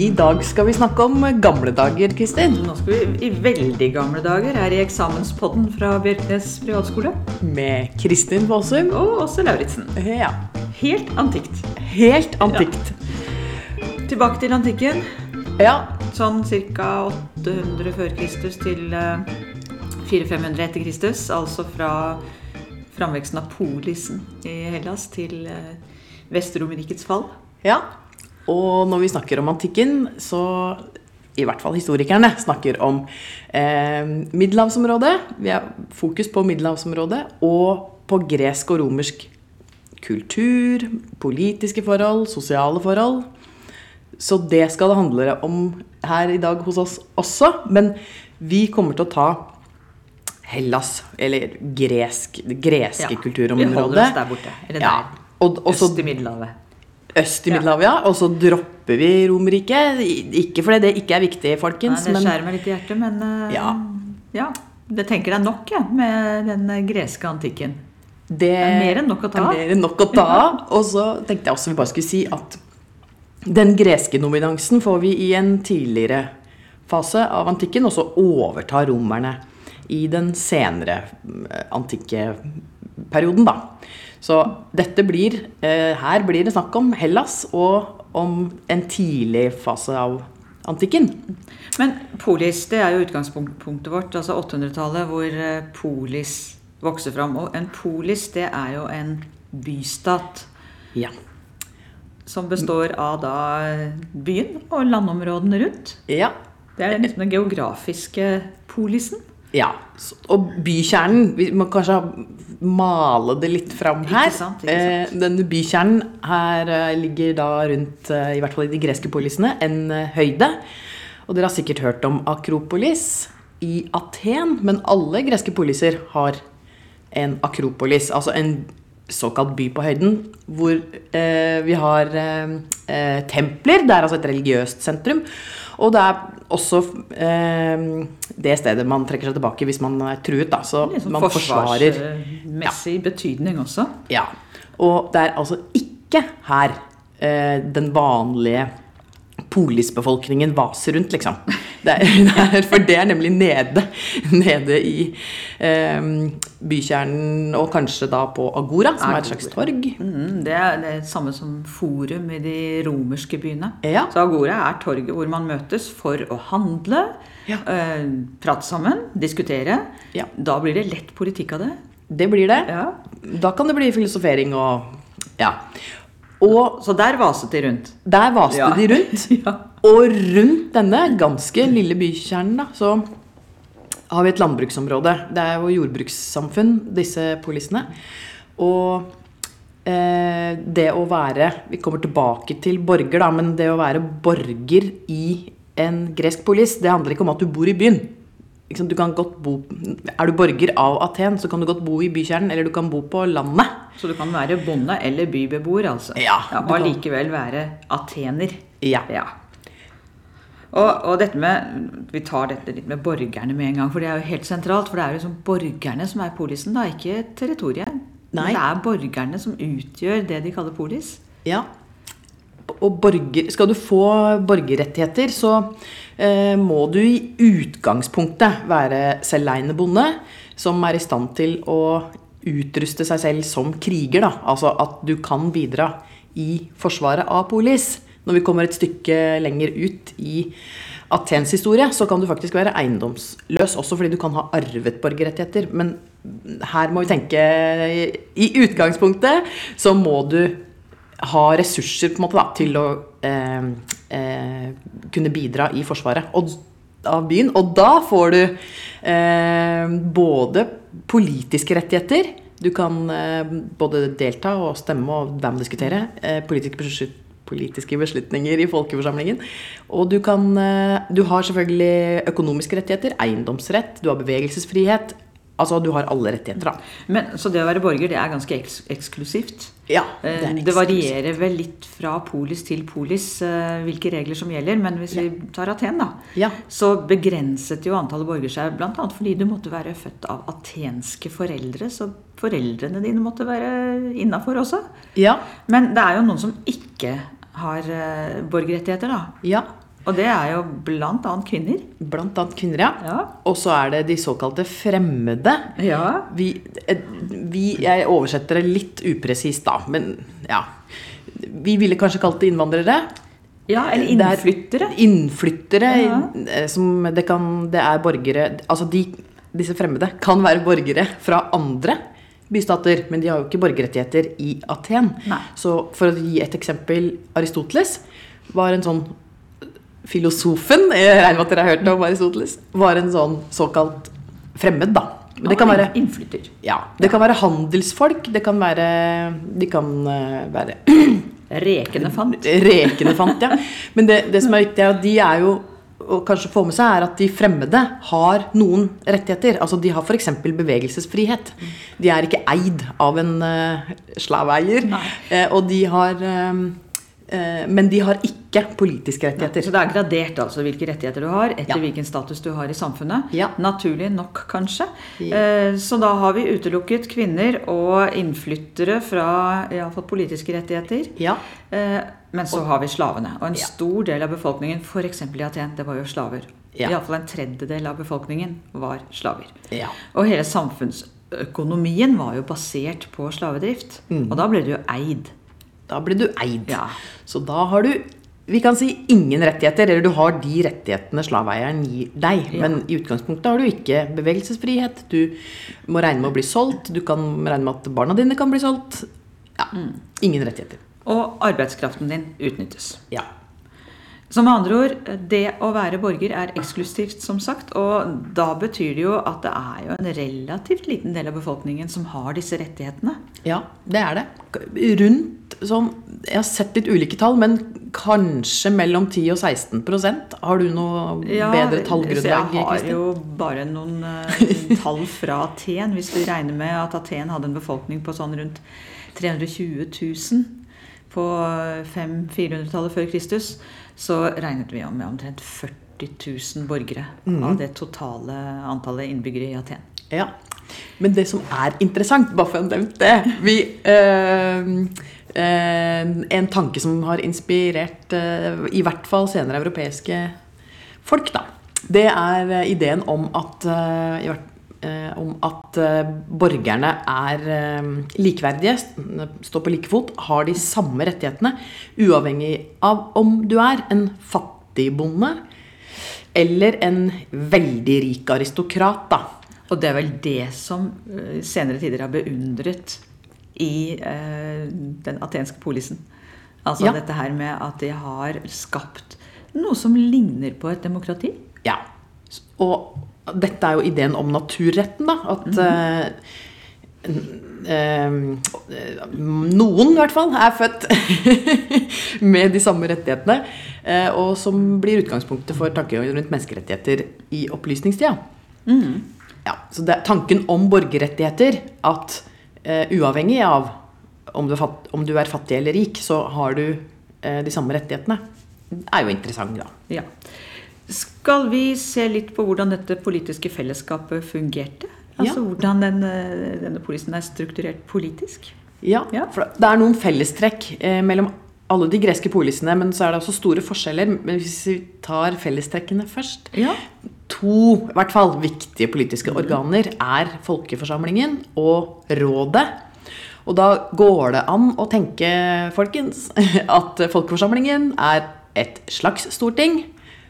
I dag skal vi snakke om gamle dager, Kristin. Nå skal vi i veldig gamle dager her i eksamenspodden fra Bjørknes privatskole. Med Kristin Fossum. Og også Lauritzen. Ja, Helt antikt. helt antikt. Tilbake til antikken. Ja, Sånn ca. 800 før Kristus til eh, 400-500 etter Kristus. Altså fra framveksten av polisen i Hellas til eh, Vesteromerrikets fall. ja. Og når vi snakker om antikken, så i hvert fall historikerne snakker om eh, middelhavsområdet. Vi har fokus på middelhavsområdet og på gresk og romersk kultur, politiske forhold, sosiale forhold. Så det skal det handle om her i dag hos oss også. Men vi kommer til å ta Hellas, eller gresk, det greske Ja, kulturområdet. vi holder oss der borte, eller ja. der. Og, og så Øst i Middelhavet. øst i Middelhavet, ja. Og så dropper vi Romerriket. I- Ikke fordi det ikke er viktig, Nei, folkens, det men skjærer meg litt i hjertet, men eh, Ja. ja. Det tenker jeg nok jeg, med den eh, greske antikken. det er mer enn nok å ta er av. mer enn nok å ta av. Og så tenkte jeg også vi bare skulle si at den greske dominansen får vi i en tidligere fase av antikken, og så overtar romerne i den senere mm, antikke perioden, da. Så dette blir eh, Her blir det snakk om Hellas og om en tidlig fase av antikken. Men polis, det er jo utgangspunktet vårt, altså 800-tallet, hvor eh, polis vokser fram. Og en polis, det er jo en bystat Ja. som består av da eh, byen og landområdene rundt. Ja. Det er liksom den geografiske polisen. ja. S- Og bykjernen Vi må kanskje ha- male det litt fram her. Ikke sant, ikke sant. Eh, Denne bykjernen her eh, ligger da rundt, eh, i hvert fall i de greske polisene, en eh, høyde. Og dere har sikkert hørt om Akropolis i Aten, men alle greske poliser har en akropolis, altså en såkalt by på høyden, hvor eh, vi har eh, eh, templer, det er altså et religiøst sentrum, og det er også eh, det stedet man trekker seg tilbake hvis man er truet, da, så Litt sånn man forsvarer. forsvarsmessig betydning også. Ja. Og det er altså ikke her eh, den vanlige polisbefolkningen vaser rundt, liksom. Det er, det er, for det er nemlig nede, nede i eh, bykjernen, og kanskje da på Agora, som er et slags torg. Mm, det er det samme som forum i de romerske byene. Ja. Så Agora er torget hvor man møtes for å handle, Ja. eh, prate sammen, diskutere. Ja. Da blir det lett politikk av det. Det blir det. Ja. Da kan det bli filosofering og ja. Og Så der vaset de rundt. Der vaste Ja. de rundt. Ja. Og rundt denne ganske lille bykjernen da, så har vi et landbruksområde. Det er jo jordbrukssamfunn, disse polisene. Og eh, det å være Vi kommer tilbake til borger, da, men det å være borger i en gresk polis, det handler ikke om at du bor i byen. Ikke sant, Du kan godt bo, er du borger av Aten, så kan du godt bo i bykjernen, eller du kan bo på landet. Så du kan være bonde eller bybeboer, altså. Ja, du og kan. allikevel være atener. Ja. Og, og dette med Vi tar dette litt med borgerne med en gang, for det er jo helt sentralt. For det er jo liksom borgerne som er polisen, da, ikke territoriet. Men Nei. Det er borgerne som utgjør det de kaller polis. Ja. Og borger, skal du få borgerrettigheter, så eh, må du i utgangspunktet være selveiende bonde som er i stand til å utruste seg selv som kriger. Da. Altså at du kan bidra i forsvaret av polis. Når vi kommer et stykke lenger ut i Atens historie, så kan du faktisk være eiendomsløs, også fordi du kan ha arvet borgerrettigheter. Men her må vi tenke I utgangspunktet så må du ha ressurser på en måte da, til å eh, eh, kunne bidra i forsvaret og, av byen. Og da får du eh, både politiske rettigheter Du kan eh, både delta og stemme og være med og diskutere. Eh, politiske beskyt- politiske beslutninger i folkeforsamlingen. Og du kan eh, Du har selvfølgelig økonomiske rettigheter, eiendomsrett, du har bevegelsesfrihet. Altså, du har alle rettigheter, da. Men, så det å være borger, det er ganske eks eksklusivt. Ja, Eh, er Det varierer vel litt fra polis til polis eh, hvilke regler som gjelder, men hvis vi tar Aten, da, Ja. så begrenset jo antallet borgere seg bl.a. fordi du måtte være født av atenske foreldre, så foreldrene dine måtte være innafor også. Ja. Men det er jo noen som ikke har eh, borgerrettigheter, da. ja. Og det er jo blant annet kvinner. Blant annet kvinner, ja. Ja. Og så er det de såkalte fremmede. ja. Vi, eh, vi, jeg oversetter det litt upresist, da, men ja. Vi ville kanskje kalt det innvandrere. eller Det er- innflyttere. Innflyttere Ja. eh, som det kan Det er borgere Altså de, disse fremmede kan være borgere fra andre bystater, men de har jo ikke borgerrettigheter i Aten. Nei. Så for å gi et eksempel Aristoteles var en sånn Filosofen, jeg regner med at dere har hørt om Aristoteles, var en sånn såkalt fremmed, da. Men det kan Ja, være Innflytter. ja, det kan være handelsfolk, det kan være De kan eh, være Rekende fant. rekende fant, ja. Men det, det som er viktig, er at de er jo og kanskje få med seg er at De fremmede har noen rettigheter. altså De har f.eks. bevegelsesfrihet. De er ikke eid av en uh, slaveier. Nei. eh, og de har eh, eh, Men de har ikke politiske rettigheter. Så det er gradert altså hvilke rettigheter du har, etter Ja. hvilken status du har i samfunnet. Ja. Naturlig nok, kanskje. Ja. Eh, Så da har vi utelukket kvinner og innflyttere fra iallfall politiske rettigheter. Ja. Eh, Men så har vi slavene. Og en Ja. stor del av befolkningen, f.eks. i Aten, det var jo slaver. Ja. Iallfall en tredjedel av befolkningen var slaver. Ja. Og hele samfunnsøkonomien var jo basert på slavedrift. Mm. Og da ble det jo eid. Da blir du eid. Ja. Så da har du vi kan si ingen rettigheter, eller du har de rettighetene slaveeieren gir deg. Men i utgangspunktet har du ikke bevegelsesfrihet. Du må regne med å bli solgt, du kan regne med at barna dine kan bli solgt. Ja. Mm. Ingen rettigheter. Og arbeidskraften din utnyttes. Ja. Så med andre ord, det å være borger er eksklusivt, som sagt. Og da betyr det jo at det er jo en relativt liten del av befolkningen som har disse rettighetene. Ja, det er det. Rundt sånn Jeg har sett litt ulike tall, men kanskje mellom 10 og 16 Har du noe bedre tallgrunnlag? Så jeg har Kristin? jo bare noen eh, tall fra Aten. Hvis vi regner med at Aten hadde en befolkning på sånn rundt 320 000 på 500-400-tallet før Kristus, så regnet vi om med omtrent 40 000 borgere Mm. av det totale antallet innbyggere i Aten. Ja. Men det som er interessant, bare for å ha nevnt det vi, eh, eh, En tanke som har inspirert eh, i hvert fall senere europeiske folk, da, det er eh, ideen om at, eh, i hvert- eh, om at eh, borgerne er eh, likeverdige, st- står på like fot, har de samme rettighetene, uavhengig av om du er en fattigbonde eller en veldig rik aristokrat. da. Og det er vel det som eh, senere tider har beundret i eh, den atenske polisen. Altså Ja. dette her med at de har skapt noe som ligner på et demokrati. Ja. Og dette er jo ideen om naturretten, da. At eh, n- eh, noen, i hvert fall, er født med de samme rettighetene. eh, og som blir utgangspunktet for tankegangen rundt menneskerettigheter i opplysningstida. Ja, så det er tanken om borgerrettigheter at eh, uavhengig av om du, er fatt, om du er fattig eller rik, så har du eh, de samme rettighetene. Det er jo interessant, da. Ja. Skal vi se litt på hvordan dette politiske fellesskapet fungerte? Altså hvordan den, eh, denne polisen er strukturert politisk? Ja, Ja. for det er noen fellestrekk eh, mellom alle de greske polisene, men så er det også store forskjeller. Men hvis vi tar fellestrekkene først Ja. Mm. To i hvert fall viktige politiske organer er folkeforsamlingen og rådet. Og da går det an å tenke, folkens, at folkeforsamlingen er et slags storting.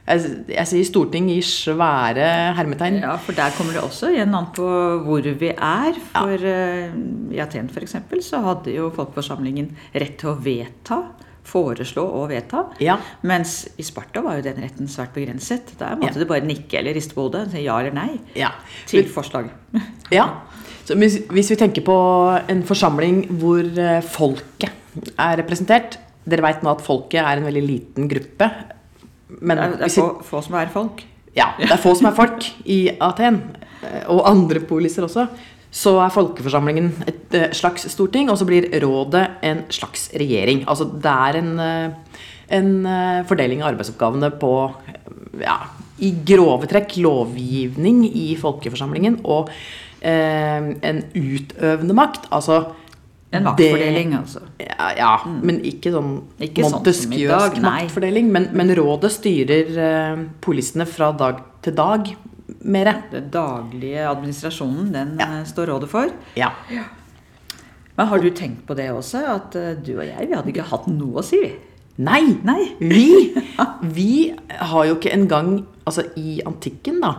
Jeg, jeg sier storting i svære hermetegn. Ja, for der kommer det også igjen an på hvor vi er. For eh, i Aten f.eks. så hadde jo folkeforsamlingen rett til å vedta, foreslå og vedta. Ja. Mens i Sparta var jo den retten svært begrenset. Der måtte Ja. du bare nikke eller riste på hodet, si ja eller nei Ja. til forslaget. Ja. Så hvis, hvis vi tenker på en forsamling hvor eh, folket er representert Dere veit nå at folket er en veldig liten gruppe. Men Det er, det er hvis vi, få, få som er folk. ja, det er få som er folk i Aten. eh, Og andre poliser også. Så er folkeforsamlingen et eh, slags storting, og så blir rådet en slags regjering. Altså det er en, eh, en eh, fordeling av arbeidsoppgavene på eh, ja, i grove trekk lovgivning i folkeforsamlingen og eh, en utøvende makt. Altså En maktfordeling, altså. Ja, ja men ikke sånn Ikke sånn som i Montesquieus dag, nei. maktfordeling. Men, men rådet styrer eh, polisene fra dag til dag mere. Den daglige administrasjonen, den eh, står rådet for. Ja. Men har du tenkt på det også, at eh, du og jeg, vi hadde ikke hatt noe å si, vi. Nei! Nei. Vi, vi har jo ikke engang Altså, i antikken, da.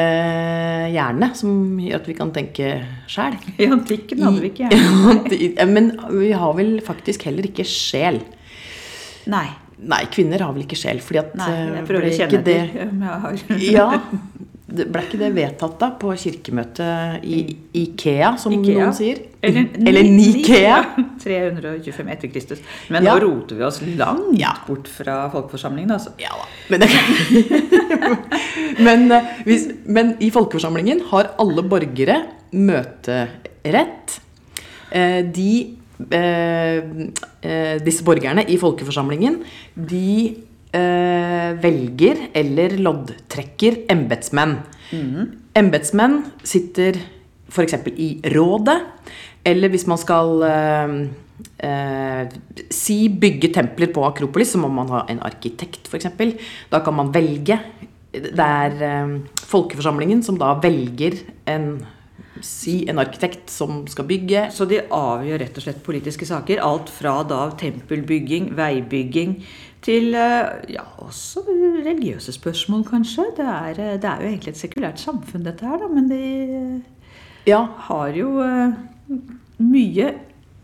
Eh, hjerne, som gjør at vi kan tenke sjæl. I antikken hadde vi ikke hjerne. hjerne. Men vi har vel faktisk heller ikke sjel. Nei. Nei, kvinner har vel ikke sjel, fordi at nei. eh, Jeg prøver ble å ikke kjenne det- etter om jeg har Ja. Det ble ikke det vedtatt da på kirkemøtet i Ikea, som Ikea. noen sier? Eller, Eller Ni- Nikea. Nikea. 325 etter Kristus. Men Ja. nå roter vi oss langt Ja. bort fra folkeforsamlingen, altså. Ja da. Men, men, eh, hvis, men i folkeforsamlingen har alle borgere møterett. Eh, De eh, eh, Disse borgerne i folkeforsamlingen, de eh, velger eller loddtrekker embetsmenn. Embetsmenn sitter f.eks. i rådet, eller hvis man skal eh, eh, si bygge templer på Akropolis, så må man ha en arkitekt f.eks. Da kan man velge. Det er eh, folkeforsamlingen som da velger en Si en arkitekt som skal bygge. Så de avgjør rett og slett politiske saker. Alt fra da tempelbygging, veibygging, til eh, ja, også religiøse spørsmål, kanskje. Det er, eh, det er jo egentlig et sekulært samfunn, dette her, da, men de eh, Ja, har jo eh, mye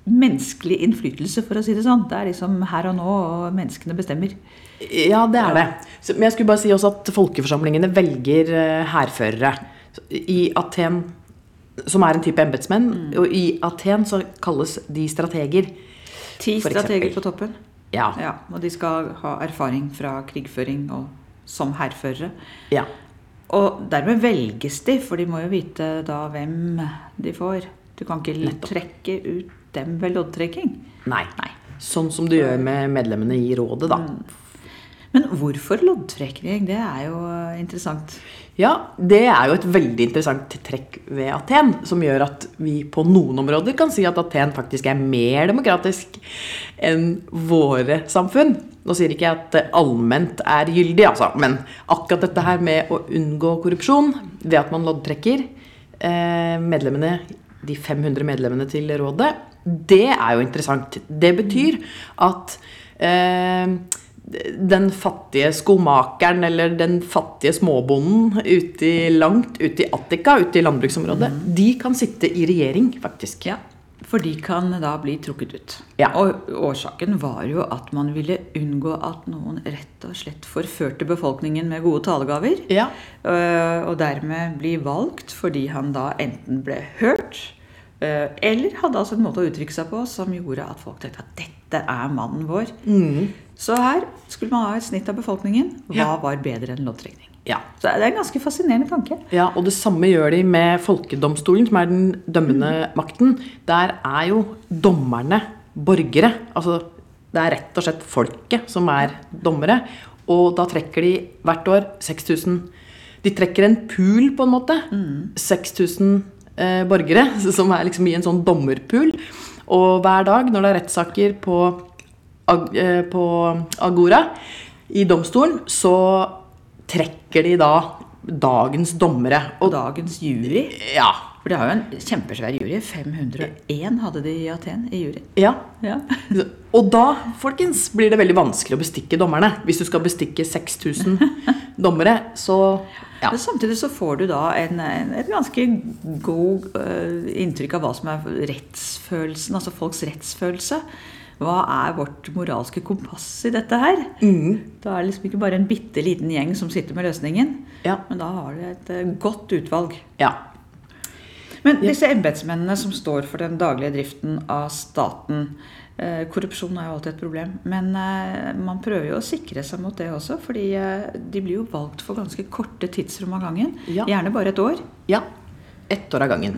menneskelig innflytelse, for å si det sånn. Det er liksom her og nå, og menneskene bestemmer. Ja, det er det. Så, men jeg skulle bare si også at folkeforsamlingene velger eh, hærførere. Så I Aten, som er en type embetsmenn, og i Aten så kalles de strateger. Ti For strateger eksempel. på toppen. Ja. Ja, og de skal ha erfaring fra krigføring og som hærførere. ja. Og dermed velges de, for de må jo vite da hvem de får. Du kan ikke trekke ut dem ved loddtrekking. Nei. Nei. Sånn som du gjør med medlemmene i rådet, da. Men hvorfor loddtrekning? Det er jo eh, interessant. Ja, det er jo et veldig interessant trekk ved Aten, som gjør at vi på noen områder kan si at Aten faktisk er mer demokratisk enn våre samfunn. Nå sier ikke jeg at det allment er gyldig, altså, men akkurat dette her med å unngå korrupsjon ved at man loddtrekker eh, medlemmene, de 500 medlemmene til rådet, det er jo interessant. Det betyr at eh, den fattige skomakeren eller den fattige småbonden ute i, langt ute i Attika, ute i landbruksområdet, de kan sitte i regjering, faktisk. Ja, For de kan da bli trukket ut. Ja. Og årsaken var jo at man ville unngå at noen rett og slett forførte befolkningen med gode talegaver. Ja. Eh, Og dermed bli valgt fordi han da enten ble hørt, eh, eller hadde altså en måte å uttrykke seg på som gjorde at folk tenkte at dette er mannen vår. Så her skulle man ha et snitt av befolkningen. Hva Mm. Ja. var bedre enn loddtrekning? ja. Så det er en ganske fascinerende tanke. Ja, og det samme gjør de med folkedomstolen, som er den dømmende makten. Der er jo dommerne borgere. Altså, det er rett og slett folket som er dommere. Og da trekker de hvert år 6000 De trekker en pool, på en måte. 6000 eh, borgere, som er liksom i en sånn dommerpool. Og hver dag når det er rettssaker på, Ag- eh, på Agora, i domstolen, så trekker de da dagens dommere. Og Og dagens jury ja. For de har jo en kjempesvær jury. 501 hadde de i Aten i jury. ja. Ja. Og da, folkens, blir det veldig vanskelig å bestikke dommerne. Hvis du skal bestikke 6000 dommere, så ja. Men samtidig så får du da en, en, et ganske god eh, inntrykk av hva som er rettsfølelsen, altså folks rettsfølelse. Hva er vårt moralske kompass i dette her? Da er det liksom ikke bare en bitte liten gjeng som sitter med løsningen, Ja. men da har du et eh, godt utvalg. ja. Men disse embetsmennene som står for den daglige driften av staten eh, Korrupsjon er jo alltid et problem, men eh, man prøver jo å sikre seg mot det også. fordi eh, de blir jo valgt for ganske korte tidsrom av gangen. Ja. Gjerne bare et år. ja. Ett år av gangen.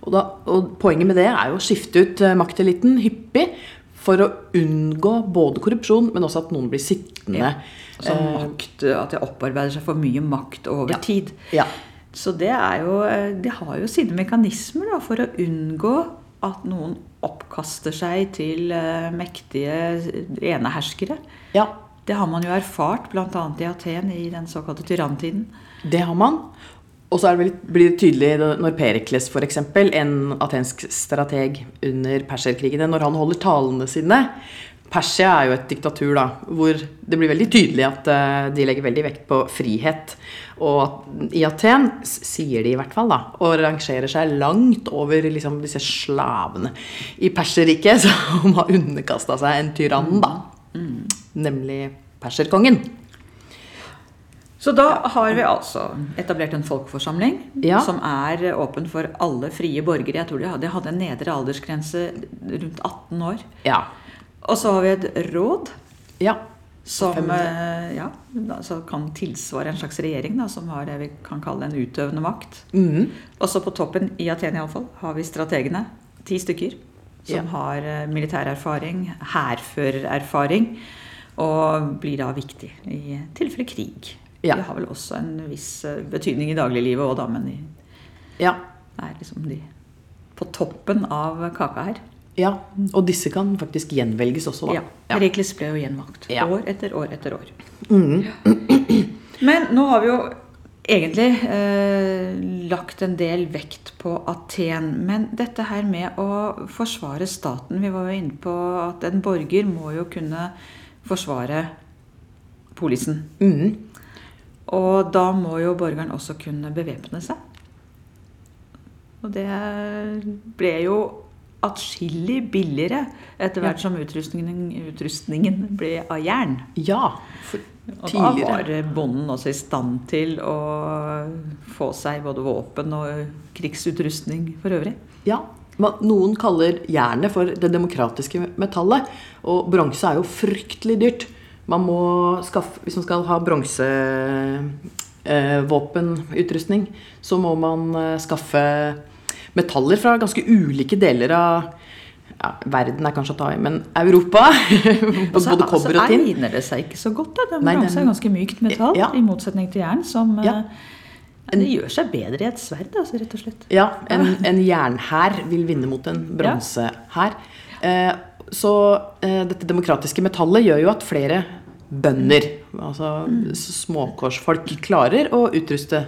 Og, da, og poenget med det er jo å skifte ut eh, makteliten hyppig for å unngå både korrupsjon, men også at noen blir sittende. Altså makt, At det opparbeider seg for mye makt over Eh, Ja. tid. Ja. Så det er jo eh, De har jo sine mekanismer da, for å unngå at noen oppkaster seg til eh, mektige eneherskere. Ja, Det har man jo erfart bl.a. i Aten i den såkalte tyranntiden. det har man. Og så er det vel, blir det tydelig når Perikles, f.eks., en atensk strateg under perserkrigene, når han holder talene sine Persia er jo et diktatur da, hvor det blir veldig tydelig at eh, de legger veldig vekt på frihet. Og at i Aten, s- sier de i hvert fall, da, og rangerer seg langt over liksom, disse slavene i Perserriket, som har underkasta seg en tyrann, da. Nemlig perserkongen. Så da har vi altså etablert en folkeforsamling Ja. som er åpen for alle frie borgere. Jeg tror de hadde, de hadde en nedre aldersgrense rundt 18 år. Ja. Og så har vi et råd ja. som eh, ja, altså kan tilsvare en slags regjering, da, som har det vi kan kalle en utøvende makt. Mhm. Og så på toppen, i Aten iallfall, har vi strategene. Ti stykker. Som Ja. har eh, militær erfaring, hærførererfaring. Og blir da viktig i tilfelle krig. Ja. De har vel også en viss eh, betydning i dagliglivet òg, da, men de Ja. er liksom de på toppen av kaka her. ja. Og disse kan faktisk gjenvelges også, da. Ja. Perikles ble jo gjenvalgt Ja. Mm. år etter år etter år. Men nå har vi jo egentlig eh, lagt en del vekt på Aten. Men dette her med å forsvare staten Vi var jo inne på at en borger må jo kunne forsvare polisen. Mhm. Og da må jo borgeren også kunne bevæpne seg. Og det ble jo atskillig billigere etter hvert som utrustningen, utrustningen ble av jern. ja. For Og da tidligere. var bonden også i stand til å få seg både våpen og krigsutrustning for øvrig. Ja. Men noen kaller jernet for det demokratiske metallet, og bronse er jo fryktelig dyrt. Man må skaffe, hvis man skal ha bronsevåpenutrustning, så må man eh, skaffe metaller fra ganske ulike deler av ja, Verden er kanskje å ta i, men Europa. så altså både kobber og tinn. egner det seg ikke så godt. Da. Den Nei, bronse den- er ganske mykt metall, Ja. i motsetning til jern, som Ja. eh, Det gjør seg bedre i et sverd, altså, rett og slett. Ja, en, en jernhær vil vinne mot en bronsehær. Eh, så eh, dette demokratiske metallet gjør jo at flere bønder, altså Mm. s- småkårsfolk, klarer å utruste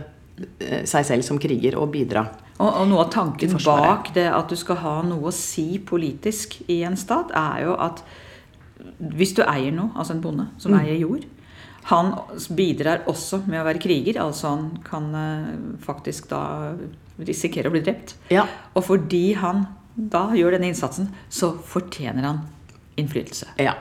eh, seg selv som kriger og bidra. Og, og noe av tanken Til Forsvaret. bak det at du skal ha noe å si politisk i en stat, er jo at hvis du eier noe, altså en bonde som Mm. eier jord Han bidrar også med å være kriger, altså han kan eh, faktisk da risikere å bli drept. Ja. Og fordi han da gjør denne innsatsen, så fortjener han innflytelse. Ja.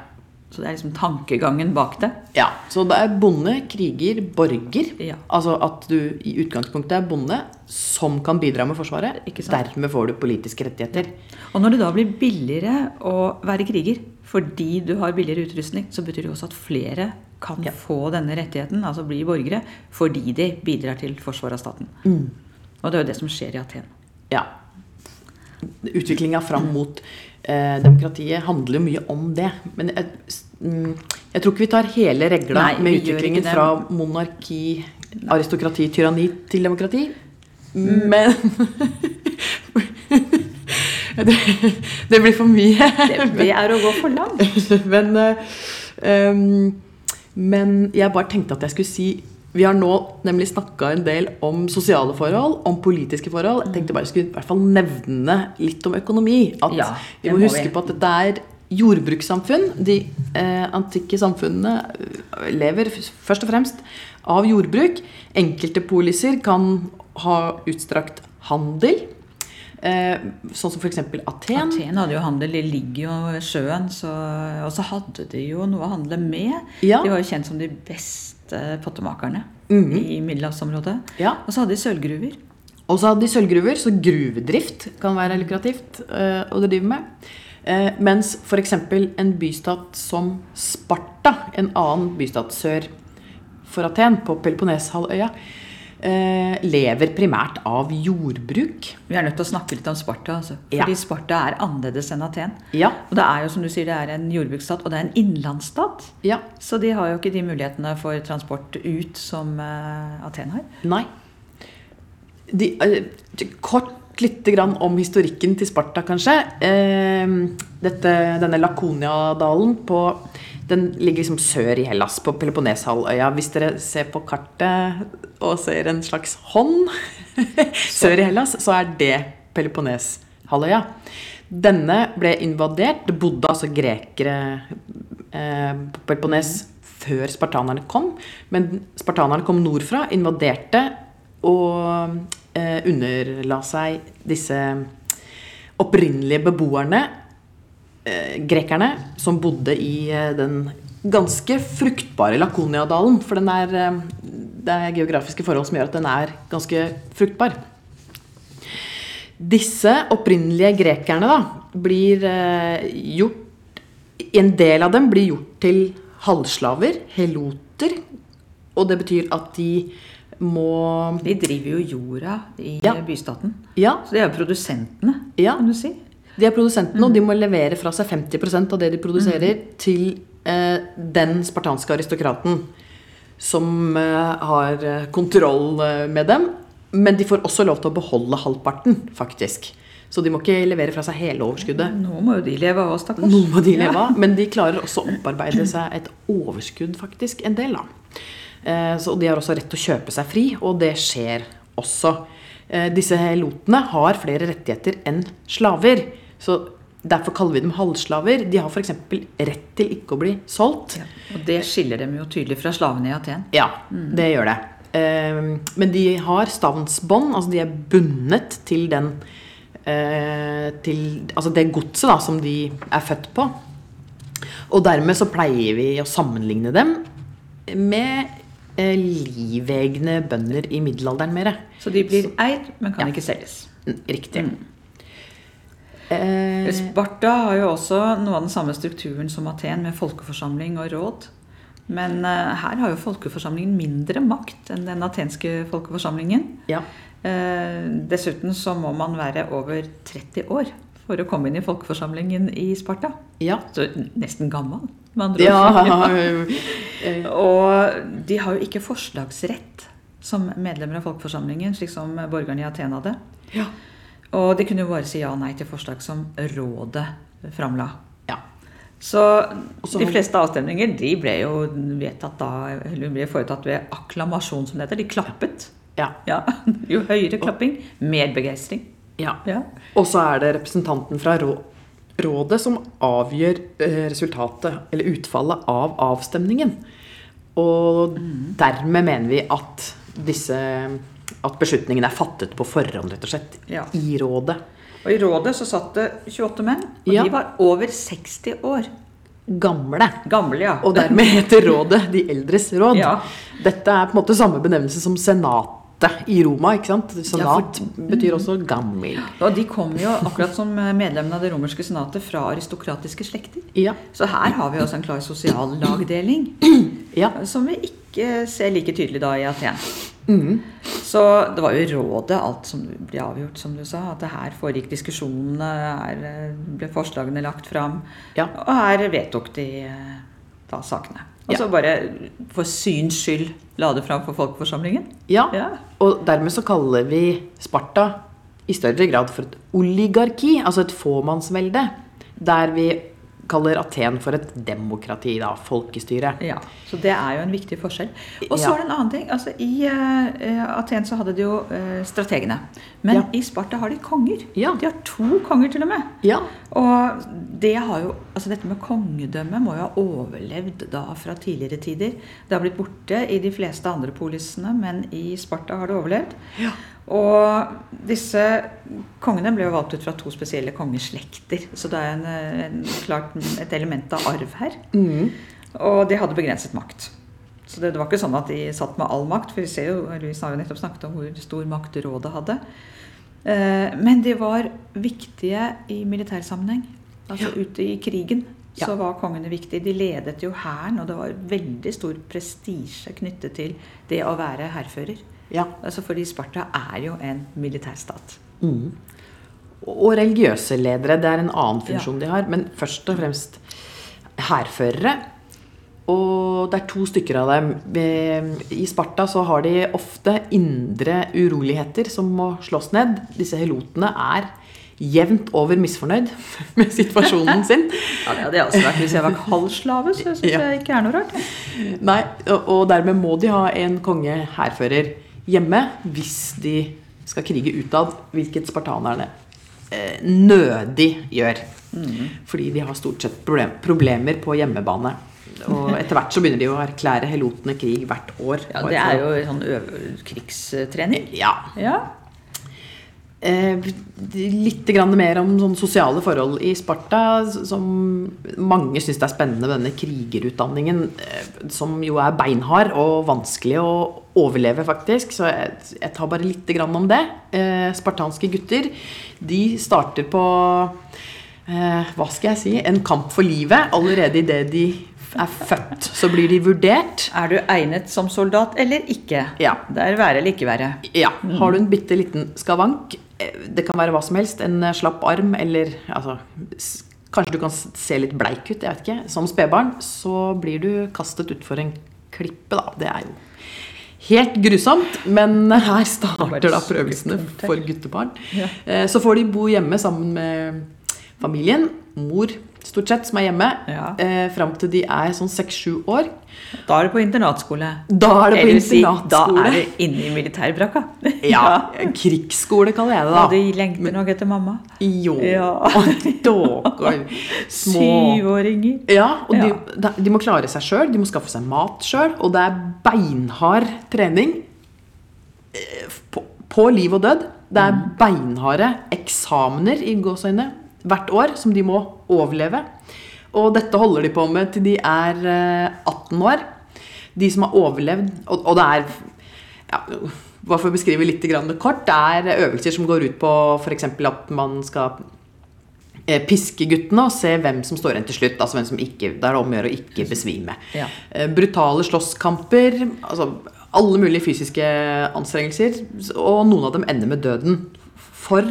Så det er liksom tankegangen bak det. ja. Så det er bonde, kriger, borger. Ja. Altså at du i utgangspunktet er bonde som kan bidra med Forsvaret. Ikke sant. Dermed får du politiske rettigheter. Og når det da blir billigere å være kriger fordi du har billigere utrustning, så betyr det jo også at flere kan få denne rettigheten, altså bli borgere, fordi de bidrar til forsvaret av staten. Mm. Og det er jo det som skjer i Aten. Ja. Utviklinga fram mot eh, demokratiet handler jo mye om det. Men jeg, s- mm, jeg tror ikke vi tar hele regla Nei, med vi gjør ikke utviklingen det. fra monarki, aristokrati, tyranni til demokrati. Mm. Men det, det blir for mye. Det, det er å gå for langt. Men, eh, ehm, men jeg bare tenkte at jeg skulle si Vi har nå nemlig snakka en del om sosiale forhold, om politiske forhold. Jeg tenkte bare jeg skulle i hvert fall nevne litt om økonomi. At Ja, vi det må må huske vi. på at dette er jordbrukssamfunn. De eh, antikke samfunnene eh, lever f- først og fremst av jordbruk. Enkelte poliser kan ha utstrakt handel. Eh, sånn som f.eks. Aten. Aten hadde jo handel, de ligger jo ved sjøen, så, og så hadde de jo noe å handle med. Ja. Mm. De var jo kjent som de beste pottemakerne i middelhavsområdet. Ja. Og så hadde de sølvgruver. Og så hadde de sølvgruver, så gruvedrift kan være lukrativt eh, å drive med. Eh, mens f.eks. en bystat som Sparta, en annen bystat sør for Aten, på Peloponneshalvøya, eh, lever primært av jordbruk. Vi er nødt til å snakke litt om Sparta, altså. Ja. fordi Sparta er annerledes enn Aten. Ja, Og det er jo som du sier, det er en jordbruksstat, og det er en innlandsstat. ja, Så de har jo ikke de mulighetene for transport ut som eh, Aten har. nei. De, eh, t- kort Litt grann om historikken til Sparta, kanskje. Eh, dette, denne Lakonia-dalen på den ligger liksom sør i Hellas, på Peloponneshalvøya. Hvis dere ser på kartet og ser en slags hånd sør i Hellas, så er det Peloponneshalvøya. Denne ble invadert. Det bodde altså grekere eh, på Peloponnes før spartanerne kom. Men spartanerne kom nordfra, invaderte og eh, underla seg disse opprinnelige beboerne eh, grekerne som bodde i eh, den ganske fruktbare Lakonia-dalen. For den er, eh, det er geografiske forhold som gjør at den er ganske fruktbar. Disse opprinnelige grekerne da, blir eh, gjort En del av dem blir gjort til halvslaver, heloter. Og det betyr at de må De driver jo jorda i Ja. bystaten. Ja, Så det er jo produsentene, Ja. kan du si. De er produsentene, og de må levere fra seg 50 av det de produserer, til eh, den spartanske aristokraten som eh, har eh, kontroll eh, med dem. Men de får også lov til å beholde halvparten, faktisk. Så de må ikke levere fra seg hele overskuddet. Nå må jo de leve av oss, stakkars. Noe må de Ja. leve av. Men de klarer også å opparbeide seg et overskudd, faktisk. En del, da. Eh, Så de har også rett til å kjøpe seg fri, og det skjer også. Eh, Disse helotene har flere rettigheter enn slaver. Så Derfor kaller vi dem halvslaver. De har f.eks. rett til ikke å bli solgt. Ja. Og det skiller dem jo tydelig fra slavene i Aten. Ja, Mm. det gjør det. Ehm, men de har stavnsbånd, altså de er bundet til den eh, til, Altså det godset da, som de er født på. Og dermed så pleier vi å sammenligne dem med eh, livegne bønder i middelalderen mer. Så de blir Mm. eid, men kan ikke selges. Riktig. Eh, Sparta har jo også noe av den samme strukturen som Aten, med folkeforsamling og råd. Men eh, her har jo folkeforsamlingen mindre makt enn den atenske folkeforsamlingen. ja. Eh, dessuten så må man være over 30 år for å komme inn i folkeforsamlingen i Sparta. Ja. Så nesten gammel, med andre ord. ja. eh, Og de har jo ikke forslagsrett som medlemmer av folkeforsamlingen, slik som borgerne i Aten hadde. ja. Og de kunne jo bare si ja og nei til forslag som rådet framla. ja. Så Også de han- fleste avstemninger de ble jo vedtatt da, eller ble foretatt ved akklamasjon, som det heter. De klappet. Ja. Ja. Jo høyere klapping, mer begeistring. ja. Ja. Og så er det representanten fra rå rådet som avgjør eh, resultatet, eller utfallet, av avstemningen. Og Mm. dermed mener vi at disse at beslutningen er fattet på forhånd, rett og slett. Ja. I rådet. Og i rådet så satt det 28 menn, og Ja. de var over 60 år. Gamle. Gamle, ja. Og dermed heter rådet De eldres råd. Ja. Dette er på en måte samme benevnelse som senatet i Roma. ikke sant? Senat betyr også gammel. Og de kom jo, akkurat som eh, medlemmene av det romerske senatet, fra aristokratiske slekter. Ja. Så her har vi også en klar sosial lagdeling. ja. Som vi ikke ser like tydelig da i Aten. Mm. Så det var jo i rådet alt som ble avgjort, som du sa. At det her foregikk diskusjonene, her eh, ble forslagene lagt fram. Ja. Og her vedtok de eh, da sakene. Og så bare for syns skyld la det fram for folkeforsamlingen. Ja, Ja. og dermed så kaller vi Sparta i større grad for et oligarki, altså et fåmannsvelde. Der vi kaller Aten for et demokrati, da, folkestyre. Ja, Så det er jo en viktig forskjell. Og så Ja. er det en annen ting. altså I eh, eh, Aten så hadde de jo eh, strategene. Men Ja. i Sparta har de konger. Ja. De har to konger, til og med. Ja, Og det har jo, altså dette med kongedømme må jo ha overlevd da fra tidligere tider. Det har blitt borte i de fleste andre polisene, men i Sparta har det overlevd. Og disse kongene ble jo valgt ut fra to spesielle kongeslekter. Så det er en, eh, en, klart et element av arv her. Mm. Og de hadde begrenset makt. Så det, det var ikke sånn at de satt med all makt, for vi ser jo, Louise har jo nettopp snakket om hvor stor makt rådet hadde. Eh, Men de var viktige i militær sammenheng. Altså ute i krigen Ja. så var kongene viktige. De ledet jo hæren, og det var veldig stor prestisje knyttet til det å være hærfører. ja. Altså fordi Sparta er jo en militærstat. Mm. Og religiøse ledere, det er en annen funksjon de har. Men først og fremst hærførere. Og det er to stykker av dem. Ved- I Sparta så har de ofte indre uroligheter som må slås ned. Disse helotene er jevnt over misfornøyd med situasjonen sin. Ja, det hadde jeg også vært hvis jeg var halvslave, så syns Ja. jeg ikke er noe rart. jeg. Nei, og og dermed må de ha en konge hærfører hjemme hvis de skal krige utad, hvilket spartanerne eh, nødig gjør. Mm. Fordi de har stort sett problem, problemer på hjemmebane. Og etter hvert så begynner de å erklære helotene krig hvert år. Ja, Og det etter- er jo sånn øv- krigstrening. ja. Ja. Eh, litt grann mer om sånne sosiale forhold i Sparta, s- som mange syns det er spennende med denne krigerutdanningen, eh, som jo er beinhard og vanskelig å overleve, faktisk. Så jeg, jeg tar bare lite grann om det. Eh, spartanske gutter de starter på eh, Hva skal jeg si? En kamp for livet. Allerede idet de er født, så blir de vurdert. Er du egnet som soldat eller ikke? Ja. Det er være eller ikke være. Ja. Mm. Har du en bitte liten skavank, eh, det kan være hva som helst, en eh, slapp arm eller altså, s- Kanskje du kan s- se litt bleik ut, jeg vet ikke. Som spedbarn så blir du kastet utfor en klippe, da. Det er jo helt grusomt, men her starter da prøvelsene for guttebarn. Eh, Så får de bo hjemme sammen med familien. Mor, stort sett, som er hjemme. Ja. eh, Fram til de er sånn seks-sju år. Da er du på internatskole. Da er det på Eller si, da internatskole. er du inne i militærbrakka. Ja, krigsskole kaller jeg det da. Og de lengter nok etter mamma. Jo, Ja. dåker. Små Syvåringer. Ja, og de, Ja. de- de må klare seg sjøl, de må skaffe seg mat sjøl, og det er beinhard trening. eh, På, på liv og død. Det er beinharde eksamener i gåseøyne hvert år som de må overleve. Og dette holder de på med til de er eh, 18 år. De som har overlevd Og, og det er ja, Bare for å beskrive litt grann det kort, det er øvelser som går ut på f.eks. at man skal eh, piske guttene og se hvem som står igjen til slutt. Altså hvem som ikke, Det er om å gjøre å ikke besvime. Ja. Eh, Brutale slåsskamper. Altså alle mulige fysiske anstrengelser. Og noen av dem ender med døden. For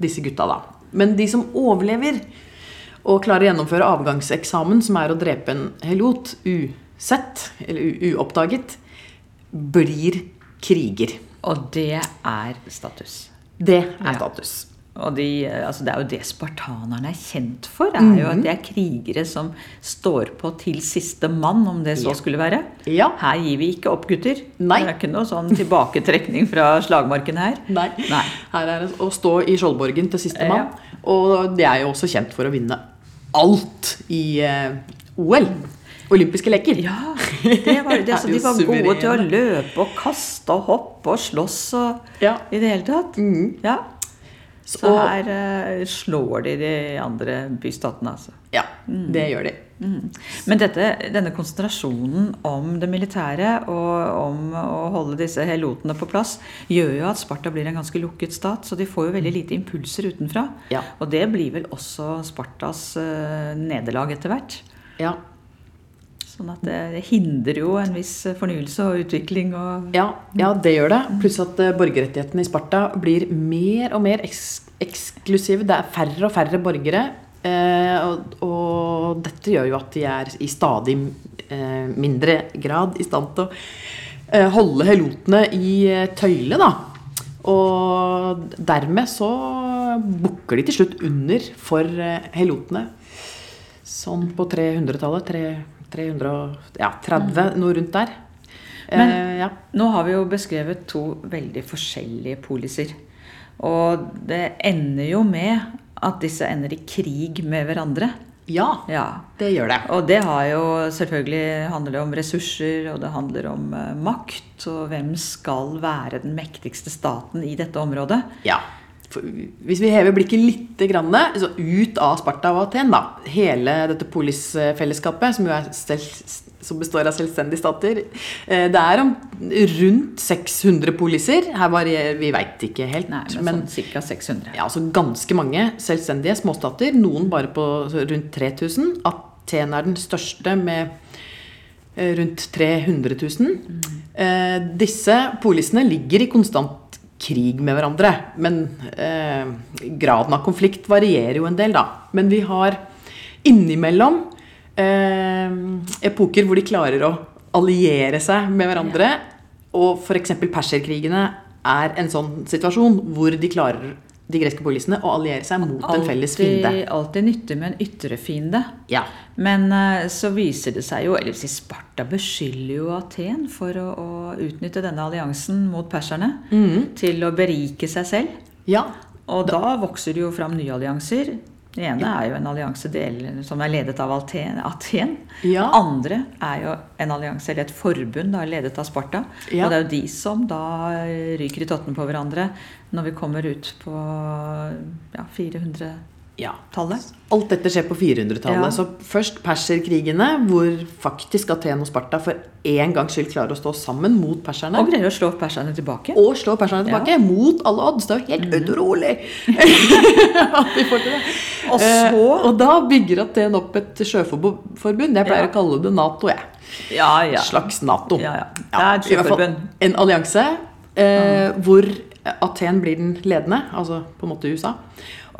disse gutta, da. Men de som overlever og klarer å gjennomføre avgangseksamen, som er å drepe en helot usett, eller u uoppdaget, blir kriger. Og det er status. Det er status. Og de, eh, altså det er jo det spartanerne er kjent for. er jo Mhm. At det er krigere som står på til siste mann, om det så skulle være. Ja. Her gir vi ikke opp, gutter. Nei. Det er ikke noe sånn tilbaketrekning fra slagmarken her. Nei. Nei. Her er det å stå i Skjoldborgen til Ja. sistemann. Og de er jo også kjent for å vinne alt i eh, OL. Olympiske leker. Ja, det var, det, altså, Er jo De var gode til å suverene. løpe og kaste og hoppe og slåss og Ja. Mm. i det hele tatt. Ja. Så Og- her eh, slår de de andre bystatene, altså. Ja, det gjør de. Men dette, denne konsentrasjonen om det militære og om å holde disse helotene på plass, gjør jo at Sparta blir en ganske lukket stat, så de får jo veldig lite impulser utenfra. Mm. Ja. Og det blir vel også Spartas eh, nederlag etter hvert. Ja. Sånn at det, det hindrer jo en viss fornyelse og utvikling og Ja, ja, det gjør det. Pluss at eh, borgerrettighetene i Sparta blir mer og mer eks eksklusive. Det er færre og færre borgere. Eh, og, og dette gjør jo at de er i stadig eh, mindre grad i stand til å eh, holde helotene i eh, tøyle, da. Og dermed så bukker de til slutt under for eh, helotene. Sånn på 300-tallet. tre- 300, og- ja, 30, noe rundt der. eh, ja. Nå har vi jo beskrevet to veldig forskjellige poliser. Og det ender jo med at disse ender i krig med hverandre. Ja, Ja. det gjør det. Og det har jo selvfølgelig handler det om ressurser, og det handler om eh, makt. Og hvem skal være den mektigste staten i dette området? Ja. For hvis vi hever blikket litt grann, så ut av Sparta og Aten, da. Hele dette polisfellesskapet, som, jo er selv, som består av selvstendige stater. eh, Det er om rundt 600 poliser. Her varierer Vi veit ikke helt. Nei, men, men sånn ca. 600. ja, altså ganske mange selvstendige småstater. Noen bare på rundt 3000. Aten er den største med eh, rundt 300 000. Eh, disse polisene ligger i konstant krig med hverandre. Men eh, graden av konflikt varierer jo en del, da. Men vi har innimellom eh, epoker hvor de klarer å alliere seg med hverandre. Og f.eks. perserkrigene er en sånn situasjon hvor de klarer de greske polisene å alliere seg mot en felles fiende. Alltid- Alltid nyttig med en ytre fiende. Ja. Men eh, så viser det seg jo, eller si Sparta beskylder jo Aten for å, å utnytte denne alliansen mot perserne Mm. til å berike seg selv. ja. Og da, vokser det jo fram nye allianser. Den ene er jo en allianse del- som er ledet av Aten. Aten. Ja. Den andre er jo en allianse, eller et forbund, da, ledet av Sparta. Ja. Og det er jo de som da eh, ryker i tottene på hverandre når vi kommer ut på ja, 400-tallet. ja. Alt dette skjer på 400-tallet. Ja. Så først perserkrigene, hvor faktisk Aten og Sparta for én gangs skyld klarer å stå sammen mot perserne. Og greier å slå perserne tilbake. og slår perserne tilbake mot alle odds. Det er jo Mhm. helt utrolig! At de får til det. Og så- Eh, og da bygger Aten opp et sjøforbund. Jeg pleier Ja. å kalle det Nato. jeg. Ja, ja. Slags Nato. Ja, ja. Det er Ja, et i hvert fall sjøforbund. En allianse eh, hvor Aten blir den ledende, altså på en måte USA.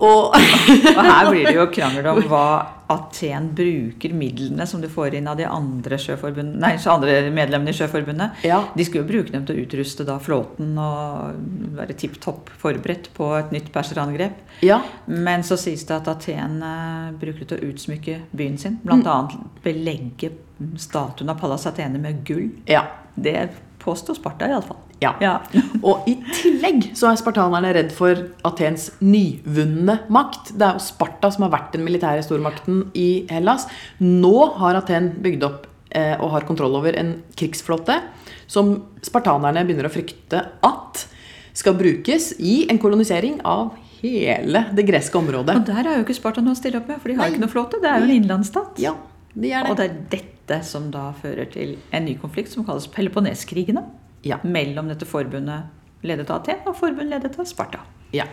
Og Og her blir det jo krangel om hva Aten bruker midlene som du får inn av de andre, sjøforbund- nei, så andre medlemmene i Sjøforbundet. Ja. De skulle jo bruke dem til å utruste da flåten og være tipp topp forberedt på et nytt perserangrep. ja, Men så sies det at Aten eh, bruker det til å utsmykke byen sin. Blant Mm. annet belegge statuen av Pallas Athene med gull. ja, Det påstår Sparta iallfall. ja. Ja. Og i tillegg så er spartanerne redd for Athens nyvunne makt. Det er jo Sparta som har vært den militære stormakten i Hellas. Nå har Aten bygd opp eh, og har kontroll over en krigsflåte som spartanerne begynner å frykte at skal brukes i en kolonisering av hele det greske området. Og der er jo ikke Sparta noe å stille opp med, for de har Nei. ikke noe flåte. Det er jo en innlandsstat. Ja, de er Og det. det er dette som da fører til en ny konflikt som kalles Peloponneskrigene. Ja. Mellom dette forbundet ledet av Aten og forbundet ledet av Sparta. Ja.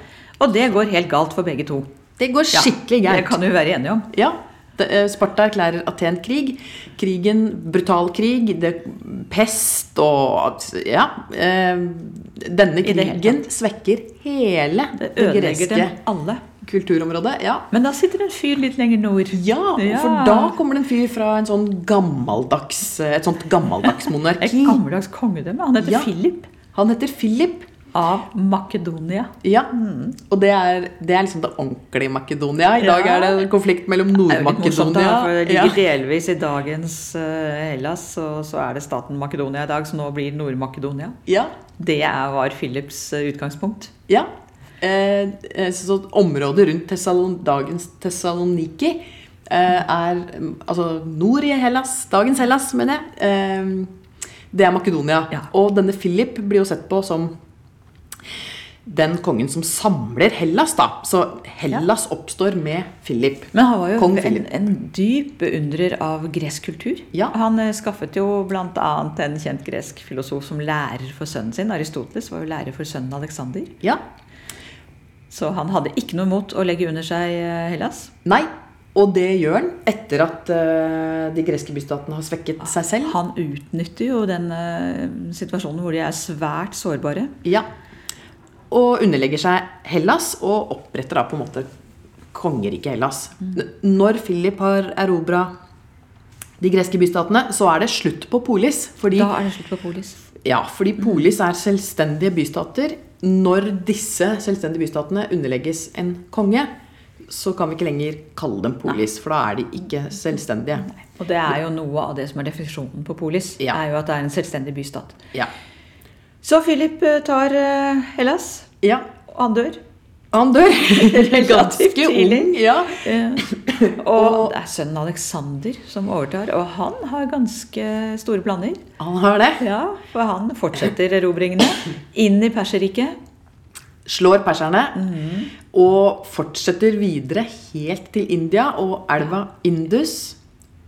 Og det går helt galt for begge to. Det går Ja, skikkelig Det gærent. kan vi jo være enige om. Ja. det- eh, Sparta erklærer Aten krig. Krigen, brutal krig, det, pest og Ja. eh, Denne I det hele krigen svekker hele Det det, ødelegger greske dem alle. kulturområdet. Ja. Men da sitter det en fyr litt lenger nord. Ja, Ja. for da kommer det en fyr fra en sånn gammeldags, eh, et sånt gammeldags Et monarki. gammeldags kongedømme. Han heter Ja. Philip Han heter Philip. av Makedonia. Ja, og det er, det er liksom det ordentlige Makedonia. I dag Mm. Ja. er det en konflikt mellom Det er jo litt morsomt, da, for Nord-Makedonia det Ja. ligger delvis i dagens eh, Hellas, og så er det staten Makedonia i dag, så nå blir Nord-Makedonia. Ja. Det er- var Philips eh, utgangspunkt. Ja. Eh, eh, så så området rundt Thessalon, dagens Thessaloniki eh, er mm, Altså nord i Hellas, dagens Hellas, mener jeg. Eh, det er Makedonia. Ja. Og denne Philip blir jo sett på som den kongen som samler Hellas, da. Så Hellas oppstår med Philip. Men han var jo Kong en, Philip. en dyp beundrer av gresk kultur. Ja. Han eh, skaffet jo bl.a. en kjent gresk filosof som lærer for sønnen sin. Aristoteles var jo lærer for sønnen Aleksander. Ja. Så han hadde ikke noe mot å legge under seg eh, Hellas. Nei. Og det gjør han etter at eh, de greske bystatene har svekket seg selv. Ah, Han utnytter jo den eh, situasjonen hvor de er svært sårbare. Ja. Og underlegger seg Hellas og oppretter da på en måte kongeriket Hellas. Mm. N- Når Philip har erobra de greske bystatene, så er det slutt på polis. Fordi, Da Mm. er det slutt på polis. ja, fordi polis er selvstendige bystater. Når disse selvstendige bystatene underlegges en konge, så kan vi ikke lenger kalle dem polis, for da er de ikke selvstendige. Og det er jo noe av det som er definisjonen på polis, Ja. er jo at det er en selvstendig bystat. Ja. Så Philip eh, tar eh, Hellas, ja. og han dør. Han dør Relativt ganske tidlig. ung. Ja. Eh, Og det er sønnen Alexander som overtar, og han har ganske store planer. Han har det. Ja, For han fortsetter erobringene inn i Perserriket. slår perserne Mhm. og fortsetter videre helt til India og elva Indus,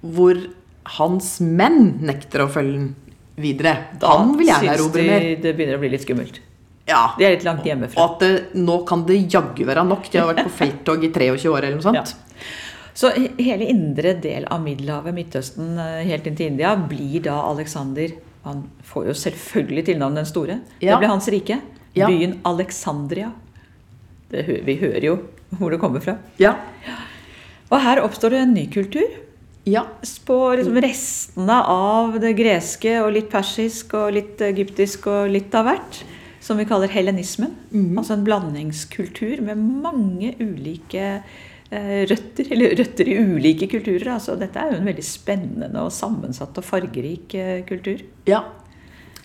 hvor hans menn nekter å følge den videre. Han vil gjerne syns erobre de mer. det begynner å bli litt skummelt. Ja. De er litt langt Og hjemmefra. at det, nå kan det jaggu være nok. De har vært på felttog i 23 år eller noe sånt. Så he- hele indre del av Middelhavet, Midtøsten, eh, helt inn til India, blir da Alexander Han får jo selvfølgelig tilnavnet Den store. Ja. Det ble hans rike. Ja. Byen Alexandria. Det, hø- vi hører jo hvor det kommer fra. Ja. Og her oppstår det en ny kultur. Ja. på liksom restene av det greske og litt persisk og litt egyptisk og litt av hvert. Som vi kaller helenismen. Mhm. Altså en blandingskultur med mange ulike eh, røtter. Eller røtter i ulike kulturer. Altså, dette er jo en veldig spennende og sammensatt og fargerik eh, kultur. ja.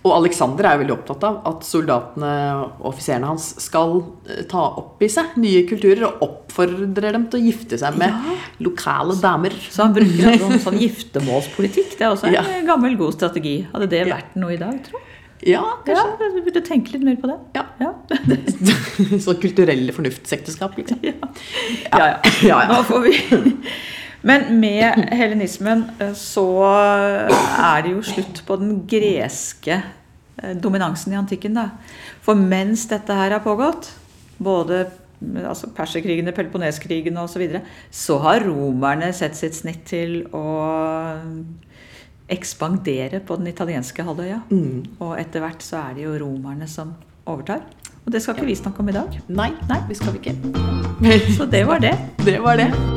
Og Alexander er jo veldig opptatt av at soldatene og offiserene hans skal eh, ta opp i seg nye kulturer og oppfordrer dem til å gifte seg med lokale damer. Så han bruker altså en sånn giftermålspolitikk. Det er også en Ja. eh, gammel, god strategi. Hadde det vært noe i dag, tro? Ja, Kanskje kanskje. du burde tenke litt mer på det. Ja. ja. Sånn kulturelle fornuftsekteskap, liksom. Ja, ja. Ja, ja. Nå får vi Men med helenismen eh, så er det jo slutt på den greske eh, dominansen i antikken. Da. For mens dette her har pågått, både eh, altså perserkrigene, peloponneskrigene osv., så, videre, så har romerne sett sitt snitt til å ekspandere på den italienske halvøya. Og etter hvert så er det jo romerne som overtar. Og det skal ikke vi snakke om i dag. Nei, Nei. vi skal vi ikke. Så det var det. Det var det.